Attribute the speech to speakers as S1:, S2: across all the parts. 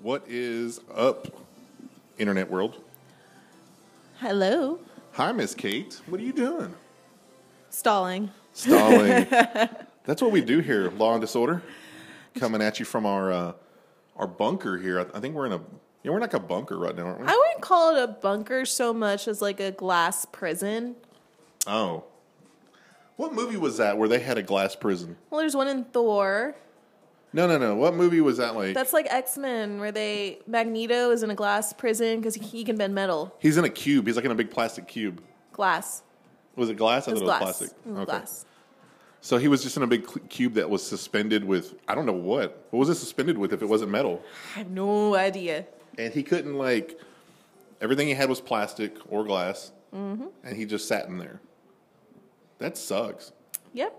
S1: What is up, internet world?
S2: Hello.
S1: Hi, Miss Kate. What are you doing?
S2: Stalling.
S1: Stalling. That's what we do here. Law and disorder, coming at you from our uh, our bunker here. I, I think we're in a yeah, we're like a bunker right now, aren't we?
S2: I wouldn't call it a bunker so much as like a glass prison.
S1: oh, what movie was that where they had a glass prison?
S2: Well, there's one in Thor.
S1: No, no, no. What movie was that? Like
S2: That's like X Men, where they Magneto is in a glass prison because he can bend metal.
S1: he's in a cube. He's like in a big plastic cube.
S2: Glass.
S1: Was it glass? I
S2: It was
S1: thought it
S2: glass.
S1: was plastic.
S2: It was glass.
S1: So he was just in a big cl- cube that was suspended with I don't know what. What was it suspended with if it wasn't metal?
S2: I have no idea.
S1: And he couldn't like everything he had was plastic or glass, Mm-hmm. and he just sat in there. That sucks.
S2: Yep.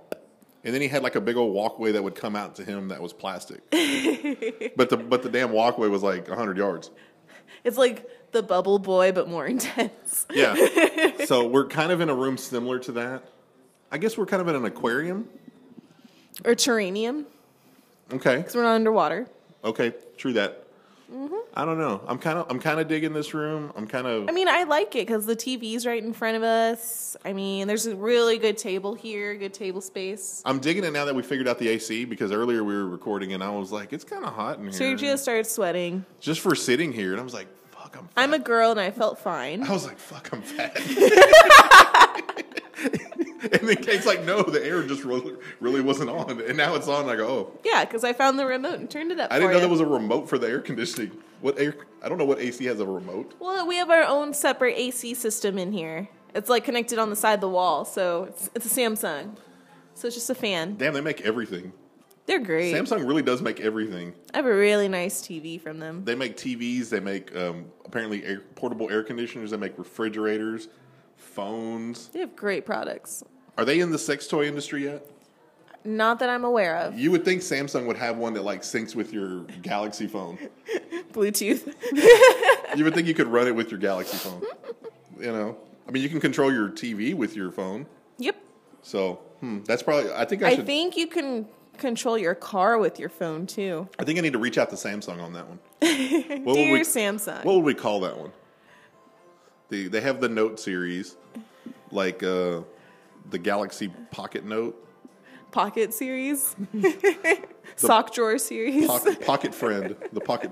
S1: And then he had like a big old walkway that would come out to him that was plastic, but the but the damn walkway was like hundred yards.
S2: It's like the bubble boy, but more intense.
S1: Yeah. so we're kind of in a room similar to that. I guess we're kind of in an aquarium.
S2: Or Terranium,
S1: Okay.
S2: because we're not underwater.
S1: Okay. True that. I don't know. I'm kind of I'm kind of digging this room. I'm kind of
S2: I mean, I like it because the TV's right in front of us. I mean, there's a really good table here, good table space.
S1: I'm digging it now that we figured out the AC because earlier we were recording and I was like, it's kind of hot in here.
S2: So you just started sweating.
S1: just for sitting here, and I was like, fuck, I'm. Fat.
S2: I'm a girl and I felt fine.
S1: I was like, fuck, I'm fat. and then Kate's like, no, the air just really, really wasn't on, and now it's on. I go, oh,
S2: Yeah, because I found the remote and turned it up.
S1: I didn't
S2: for
S1: know
S2: you.
S1: there was a remote for the air conditioning. What air? I don't know what AC has a remote.
S2: Well, we have our own separate AC system in here. It's like connected on the side of the wall, so it's, it's a Samsung. So it's just a fan.
S1: Damn, they make everything.
S2: They're great.
S1: Samsung really does make everything.
S2: I have a really nice TV from them.
S1: They make TVs. They make um, apparently air, portable air conditioners. They make refrigerators, phones.
S2: They have great products.
S1: Are they in the sex toy industry yet?
S2: Not that I'm aware of.
S1: You would think Samsung would have one that like syncs with your Galaxy phone.
S2: Bluetooth.
S1: You would think you could run it with your Galaxy phone. You know, I mean, you can control your TV with your phone.
S2: yep.
S1: So hmm, that's probably. I think I,
S2: I
S1: should.
S2: think you can control your car with your phone too.
S1: I think I need to reach out to Samsung on that one. What
S2: Dear
S1: would we,
S2: Samsung.
S1: What would we call that one? The they have the Note series, like uh, the Galaxy Pocket Note,
S2: Pocket series. Sock drawer series.
S1: Pocket, Pocket Friend, the Pocket,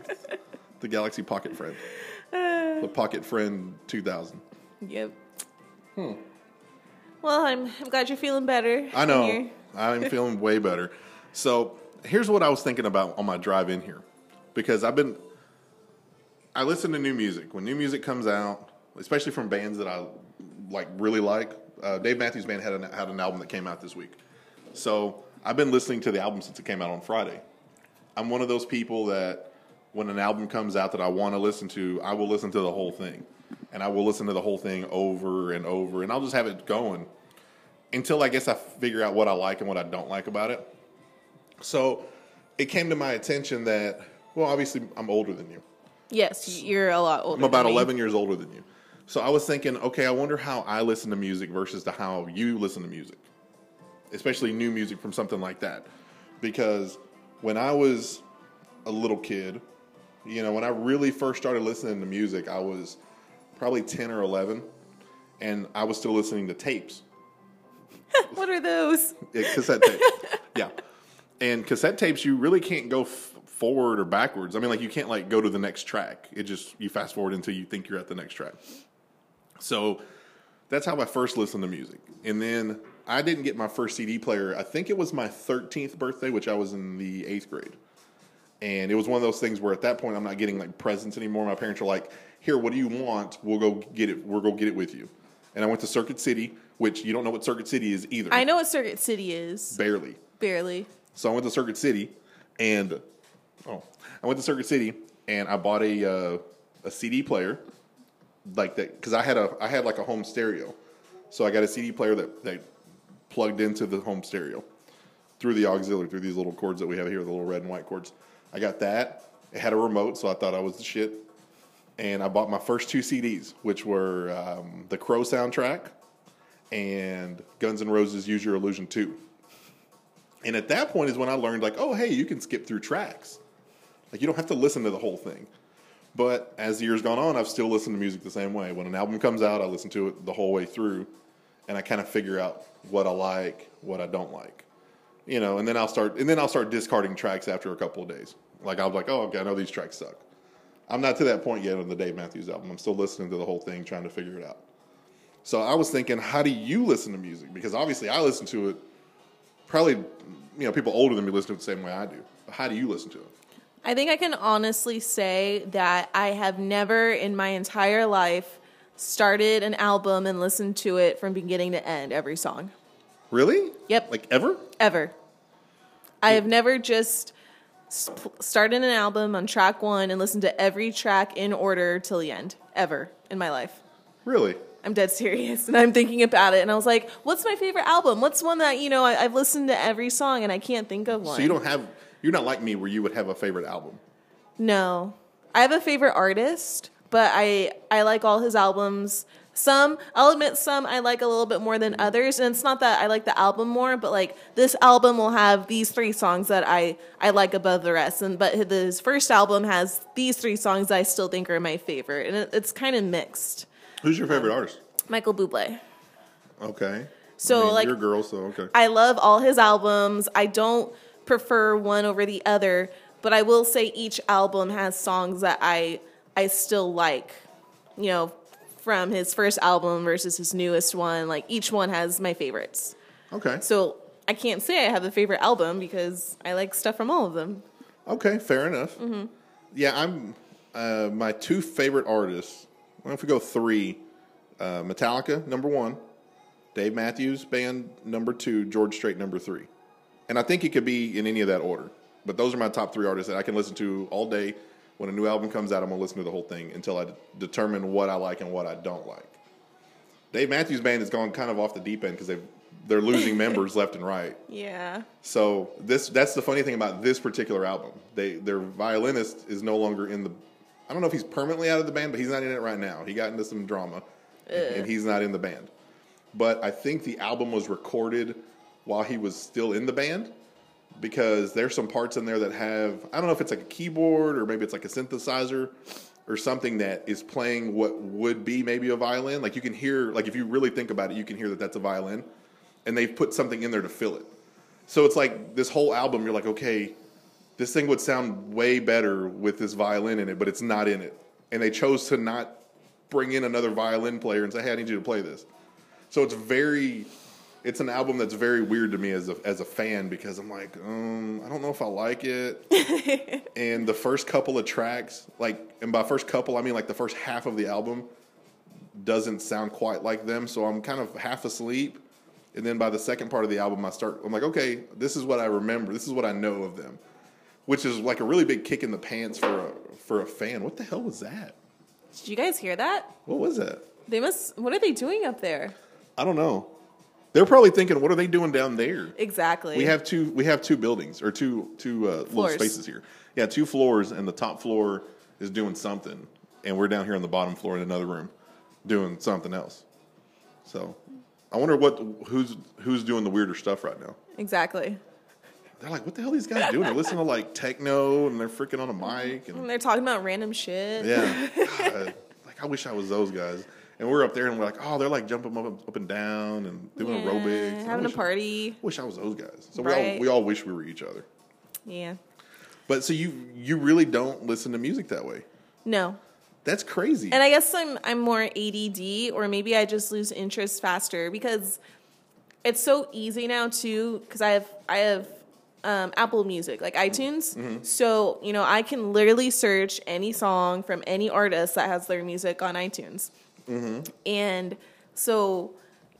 S1: the Galaxy Pocket Friend, the Pocket Friend two thousand.
S2: Yep. Well, I'm, I'm glad you're feeling better.
S1: Hmm. I know.
S2: You're-
S1: I'm feeling way better. So here's what I was thinking about on my drive in here, because I've been. I listen to new music when new music comes out, especially from bands that I like really like. Uh, Dave Matthews Band had an, had an album that came out this week, so I've been listening to the album since it came out on Friday. I'm one of those people that when an album comes out that I want to listen to, I will listen to the whole thing, and I will listen to the whole thing over and over, and I'll just have it going until I guess I figure out what I like and what I don't like about it. So it came to my attention that, well, obviously I'm older than you.
S2: Yes, you're a lot older.
S1: I'm about
S2: than me.
S1: 11 years older than you. So I was thinking, okay, I wonder how I listen to music versus to how you listen to music, especially new music from something like that. Because when I was a little kid, you know, when I really first started listening to music, I was probably 10 or 11, and I was still listening to tapes.
S2: What are those?
S1: Yeah, cassette tape. yeah. And cassette tapes, you really can't go f- forward or backwards. I mean, like you can't like go to the next track. It just you fast forward until you think you're at the next track. So that's how I first listened to music. And then I didn't get my first CD player. I think it was my 13th birthday, which I was in the eighth grade. And it was one of those things where at that point I'm not getting like presents anymore. My parents are like, "Here, what do you want? We'll go get it. We'll go get it with you." And I went to Circuit City, which you don't know what Circuit City is either.
S2: I know what Circuit City is.
S1: barely.
S2: Barely.
S1: So I went to Circuit City, and oh, I went to Circuit City and I bought a uh, a CD player, like that because I had a I had like a home stereo, so I got a CD player that that plugged into the home stereo through the auxiliary through these little cords that we have here, the little red and white cords. I got that. It had a remote, so I thought I was the shit. And I bought my first two CDs, which were um, the Crow soundtrack and Guns N' Roses Use Your Illusion 2. And at that point is when I learned, like, oh, hey, you can skip through tracks. Like you don't have to listen to the whole thing. But as the years gone on, I've still listened to music the same way. When an album comes out, I listen to it the whole way through, and I kind of figure out what I like, what I don't like, you know. And then I'll start, and then I'll start discarding tracks after a couple of days. Like I'm like, oh, okay, I know these tracks suck. I'm not to that point yet on the Dave Matthews album. I'm still listening to the whole thing, trying to figure it out. So I was thinking, how do you listen to music? Because obviously, I listen to it. Probably, you know, people older than me listen to it the same way I do. But how do you listen to it?
S2: I think I can honestly say that I have never in my entire life started an album and listened to it from beginning to end, every song.
S1: Really?
S2: Yep.
S1: Like ever?
S2: ever. I have never just sp- started an album on track one and listened to every track in order till the end, ever in my life.
S1: Really?
S2: I'm dead serious, and I'm thinking about it, and I was like, "What's my favorite album? What's one that you know I, I've listened to every song, and I can't think of one."
S1: So you don't have you're not like me where you would have a favorite album.
S2: No, I have a favorite artist, but I I like all his albums. Some I'll admit some I like a little bit more than others, and it's not that I like the album more, but like this album will have these three songs that I I like above the rest, and but his first album has these three songs that I still think are my favorite, and it, it's kind of mixed.
S1: Who's your favorite artist?
S2: Michael Bublé.
S1: Okay.
S2: So, like-
S1: you're a girl, so okay.
S2: I love all his albums. I don't prefer one over the other, but I will say each album has songs that I I still like. You know, from his first album versus his newest one, like each one has my favorites.
S1: okay.
S2: So I can't say I have a favorite album because I like stuff from all of them.
S1: Okay, fair enough. Mm-hmm. Yeah, I'm uh, my two favorite artists. Well, if we go three, uh, Metallica number one, Dave Matthews Band number two, George Strait number three, and I think it could be in any of that order. But those are my top three artists that I can listen to all day. When a new album comes out, I'm gonna listen to the whole thing until I d- determine what I like and what I don't like. Dave Matthews Band has gone kind of off the deep end because they they're losing members left and right.
S2: Yeah.
S1: So this that's the funny thing about this particular album. They their violinist is no longer in the I don't know if he's permanently out of the band, but he's not in it right now. He got into some drama and he's not in the band. But I think the album was recorded while he was still in the band because there's some parts in there that have I don't know if it's like a keyboard or maybe it's like a synthesizer or something that is playing what would be maybe a violin. Like you can hear like if you really think about it, you can hear that that's a violin and they've put something in there to fill it. So it's like this whole album you're like okay, this thing would sound way better with this violin in it, but it's not in it. And they chose to not bring in another violin player and say, "Hey, I need you to play this." So it's very, it's an album that's very weird to me as a as a fan because I'm like, um, I don't know if I like it. and the first couple of tracks, like, and by first couple I mean like the first half of the album, doesn't sound quite like them. So I'm kind of half asleep. And then by the second part of the album, I start. I'm like, okay, this is what I remember. This is what I know of them, which is like a really big kick in the pants for a for a fan. What the hell was that?
S2: Did you guys hear that?
S1: What was that?
S2: They must what are they doing up there?
S1: I don't know. They're probably thinking, what are they doing down there?
S2: Exactly.
S1: We have two. We have two buildings or two two uh, little
S2: Floors.
S1: spaces here. Yeah, two floors, and the top floor is doing something, and we're down here on the bottom floor in another room doing something else. So, I wonder what who's who's doing the weirder stuff right now.
S2: Exactly.
S1: They're like, what the hell are these guys doing? They're listening to like techno, and they're freaking on a mic, and
S2: And they're talking about random shit.
S1: yeah, God, like I wish I was those guys. And we're up there, and we're like, oh, they're like jumping up, up and down and doing
S2: Yeah,
S1: aerobics, and I
S2: Having a
S1: wish-
S2: party.
S1: Wish I was those guys. So we all
S2: Right.
S1: we all wish we were each other.
S2: Yeah.
S1: But so you you really don't listen to music that way.
S2: No.
S1: That's crazy.
S2: And I guess I'm I'm more ADD or maybe I just lose interest faster because it's so easy now too because I have I have um, Apple Music like iTunes, so you know I can literally search any song from any artist that has their music on iTunes, and so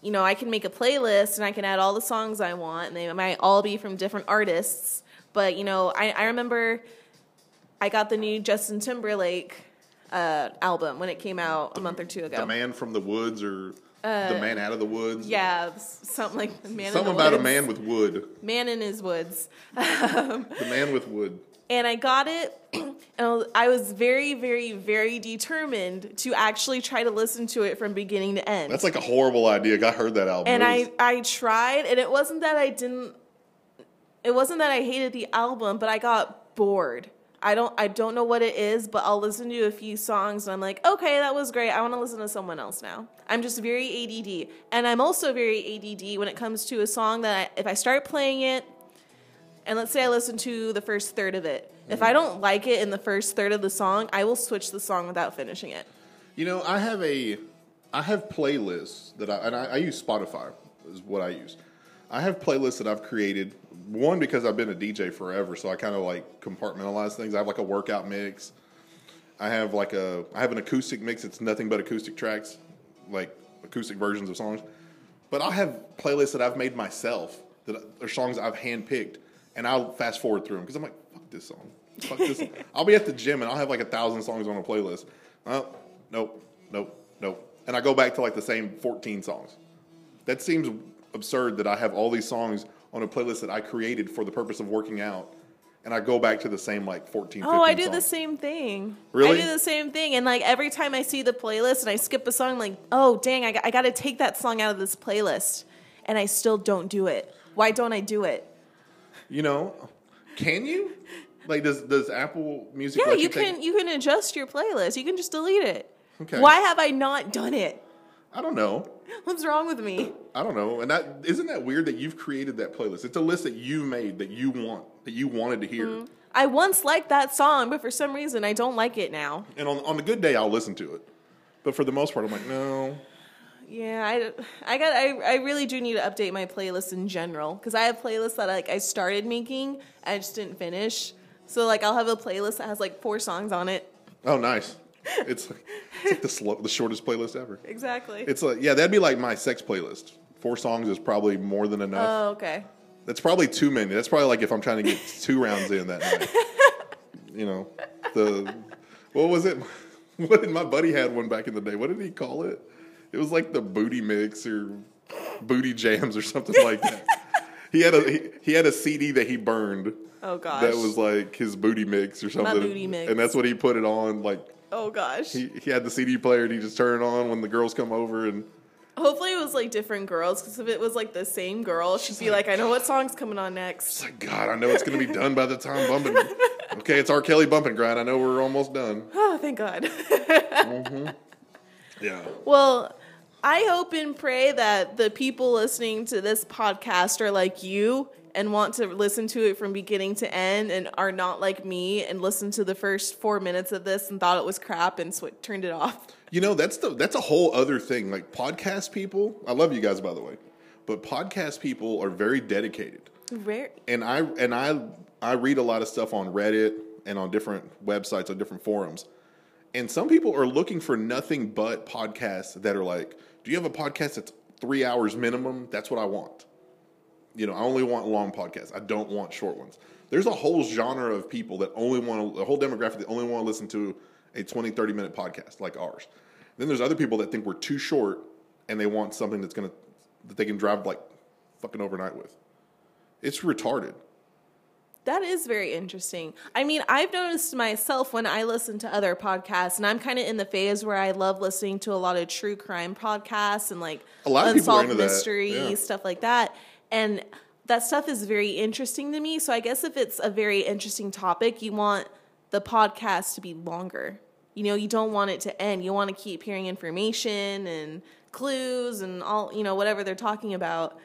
S2: you know I can make a playlist and I can add all the songs I want and they might all be from different artists, but you know I, I remember I got the new Justin Timberlake uh, album when it came out a month or two ago.
S1: the man from the woods or the man out of the woods.
S2: Uh, Yeah, s- something like the man.
S1: Something
S2: in the
S1: about a
S2: woods.
S1: man with wood.
S2: Man in his woods,
S1: The man with wood.
S2: and I got it, and I was- I was very, very, very determined to actually try to listen to it from beginning to end.
S1: That's like a horrible idea. I heard that album.
S2: and
S1: It was-
S2: I, I tried, and it wasn't that I didn't. It wasn't that I hated the album, but I got bored. I don't I don't know what it is, but I'll listen to a few songs and I'm like, okay, that was great. I want to listen to someone else now. I'm just very ADD, and I'm also very ADD when it comes to a song that I, if I start playing it, and let's say I listen to the first third of it, if I don't like it in the first third of the song, I will switch the song without finishing it.
S1: You know, I have a, I have playlists that I and I, I use Spotify is what I use. I have playlists that I've created. One because I've been a DJ forever, so I kind of like compartmentalize things. I have like a workout mix. I have like a I have an acoustic mix. It's nothing but acoustic tracks, like acoustic versions of songs. But I have playlists that I've made myself that are songs I've handpicked, and I'll fast forward through them because I'm like, fuck this song, fuck this. song. I'll be at the gym and I'll have like a thousand songs on a playlist. Oh, nope, nope, nope, and I go back to like the same 14 songs. That seems absurd that I have all these songs on a playlist that I created for the purpose of working out, and I go back to the same like 14.
S2: Oh, I
S1: 15
S2: do the
S1: songs.
S2: same thing.
S1: Really?
S2: I do the same thing. And like every time I see the playlist and I skip a song, like, oh, dang, I got, I got to take that song out of this playlist. And I still don't do it. Why don't I do it?
S1: You know, can you? Like, does does Apple Music?
S2: Yeah,
S1: let
S2: you
S1: take-
S2: can you can adjust your playlist. You can just delete it.
S1: Okay.
S2: Why have I not done it?
S1: I don't know.
S2: What's wrong with me?
S1: I don't know. And that isn't that weird that you've created that playlist. It's a list that you made that you want that you wanted to hear.
S2: I once liked that song, but for some reason I don't like it now.
S1: And on on a good day, I'll listen to it. But for the most part, I'm like, no.
S2: Yeah, I, I got I, I really do need to update my playlist in general because I have playlists that like I started making I just didn't finish. So like I'll have a playlist that has like four songs on it.
S1: Oh, nice. It's like, it's like the slow, the shortest playlist ever.
S2: Exactly.
S1: It's like yeah, that'd be like my sex playlist. Four songs is probably more than enough.
S2: oh okay.
S1: That's probably too many. That's probably like if I'm trying to get two rounds in that night. You know, the what was it? What did my buddy had one back in the day? What did he call it? It was like the booty mix or booty jams or something like that. he had a he, he had a CD that he burned.
S2: Oh gosh.
S1: That was like his booty mix or something.
S2: booty mix.
S1: And that's what he put it on. Like
S2: oh gosh.
S1: he, he had the CD player and he just turned it on when the girls come over and
S2: Hopefully it was like different girls because if it was like the same girl, she'd be like, I know what song's coming on next.
S1: It's like, God, I know it's going to be done by the time bumping. Okay, it's R. Kelly bumping grind. I know we're almost done.
S2: Oh thank God.
S1: Yeah.
S2: Well, I hope and pray that the people listening to this podcast are like you and want to listen to it from beginning to end and are not like me and listened to the first four minutes of this and thought it was crap and sw- turned it off.
S1: You know, that's the that's a whole other thing. Like podcast people, I love you guys by the way, but podcast people are very dedicated.
S2: Where?
S1: And I and I I read a lot of stuff on Reddit and on different websites on different forums. And some people are looking for nothing but podcasts that are like, do you have a podcast that's 3 hours minimum? That's what I want. you know, I only want long podcasts. I don't want short ones. There's a whole genre of people that only want to, a whole demographic that only want to listen to a 20, 30 minute podcast like ours. Then there's other people that think we're too short and they want something that's going to, that they can drive like fucking overnight with. It's retarded.
S2: That is very interesting. I mean, I've noticed myself when I listen to other podcasts, and I'm kind of in the phase where I love listening to a lot of true crime podcasts and like
S1: A lot of people are
S2: unsolved
S1: into that,
S2: mysteries,
S1: yeah.
S2: stuff like that. And that stuff is very interesting to me. So I guess if it's a very interesting topic, you want the podcast to be longer. You know, you don't want it to end. You want to keep hearing information and clues and all, you know, whatever they're talking about.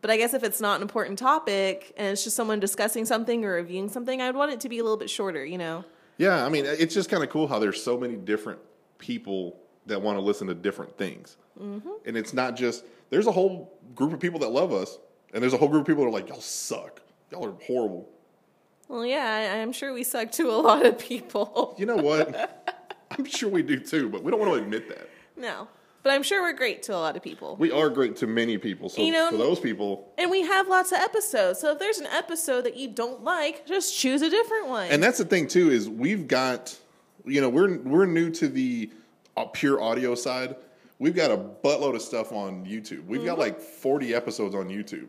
S2: But I guess if it's not an important topic and it's just someone discussing something or reviewing something, I'd want it to be a little bit shorter, you know?
S1: Yeah, I mean, it's just kind of cool how there's so many different people that want to listen to different things,
S2: Mm-hmm.
S1: and it's not just there's a whole group of people that love us, and there's a whole group of people that are like, y'all suck, y'all are horrible.
S2: Well, yeah, I, I'm sure we suck to a lot of people.
S1: You know what? I'm sure we do too, but we don't want to admit that.
S2: No. But I'm sure we're great to a lot of people.
S1: We are great to many people. So
S2: You know-
S1: for those people,
S2: And we have lots of episodes. So if there's an episode that you don't like, just choose a different one.
S1: and that's the thing too is we've got, you know, we're we're new to the uh, pure audio side. We've got a buttload of stuff on YouTube. We've got like 40 episodes on YouTube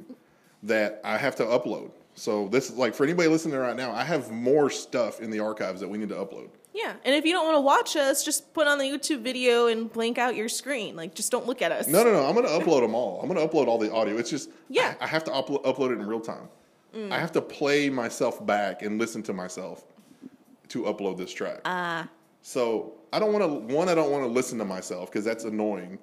S1: that I have to upload. So this is like for anybody listening right now, I have more stuff in the archives that we need to upload.
S2: yeah. And if you don't want to watch us, just put on the YouTube video and blank out your screen. Like, just don't look at us.
S1: No, no, no. I'm going to upload them all. I'm going to upload all the audio. It's just,
S2: Yeah. Mm.
S1: I, I have to uplo- upload it in real time. I have to play myself back and listen to myself to upload this track. Ah. So I don't want to. One, I don't want to listen to myself because that's annoying.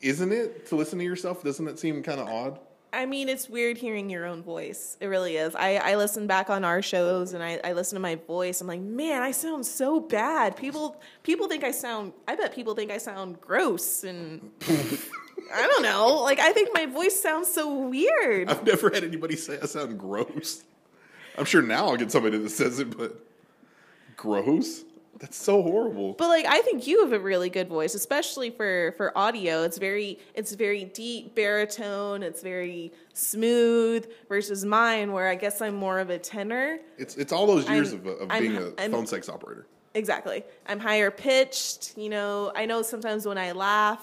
S1: Isn't it to listen to yourself? Doesn't it seem kind of odd?
S2: I mean, it's weird hearing your own voice. It really is. I, I listen back on our shows and I, I listen to my voice. I'm like, man, I sound so bad. People people think I sound. I bet people think I sound gross and I don't know. Like I think my voice sounds so weird.
S1: I've never had anybody say I sound gross. I'm sure now I'll get somebody that says it, but gross? That's so horrible.
S2: But like I think you have a really good voice, especially for for audio. It's very it's very deep baritone. It's very smooth versus mine, where I guess I'm more of a tenor.
S1: It's it's all those years
S2: I'm-
S1: of, of
S2: I'm-
S1: being a
S2: I'm-
S1: phone sex operator.
S2: Exactly. I'm higher pitched. You know, I know sometimes when I laugh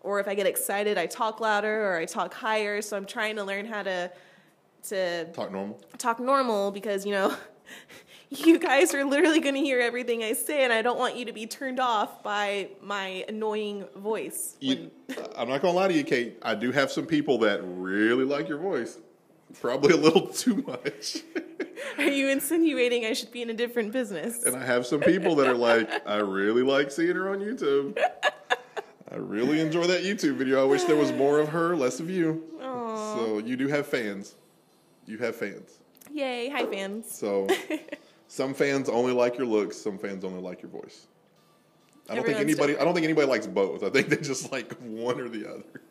S2: or if I get excited, I talk louder or I talk higher. So I'm trying to learn how to to
S1: Talk normal.
S2: talk normal because you know you guys are literally going to hear everything I say, and I don't want you to be turned off by my annoying voice.
S1: You, I'm not gonna lie to you, Kate. I do have some people that really like your voice. Probably a little too much.
S2: Are you insinuating I should be in a different business?
S1: And I have some people that are like, I really like seeing her on YouTube. I really enjoy that YouTube video. I wish there was more of her, less of you. So you do have fans. You have fans.
S2: Yay! Hi fans.
S1: So some fans only like your looks, some fans only like your voice. I don't think
S2: Everyone's
S1: anybody I don't think anybody likes both. I think they just like one or the other.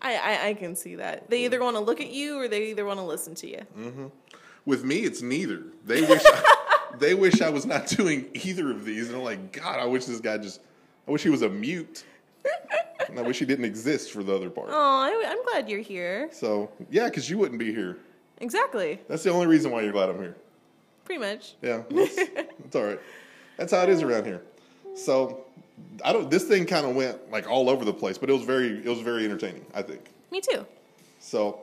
S2: I, I I can see that they either want to look at you or they either want to listen to you.
S1: Mm. With me, it's neither. They wish they wish I was not doing either of these, and I'm like, God, I wish this guy just, I wish he was a mute, and I wish he didn't exist for the other part.
S2: Oh, I, I'm glad you're here.
S1: So yeah, because you wouldn't be here.
S2: Exactly.
S1: That's the only reason why you're glad I'm here.
S2: Pretty much.
S1: Yeah, that's, that's all right. That's how it is around here. So I don't. This thing kind of went like all over the place, but it was very it was very entertaining. I think
S2: Me too.
S1: so.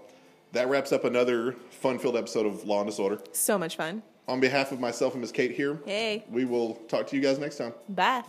S1: That wraps up another fun-filled episode of Law and Disorder.
S2: So much fun.
S1: On behalf of myself and Miss Kate here,
S2: Hey.
S1: we will talk to you guys next time.
S2: Bye.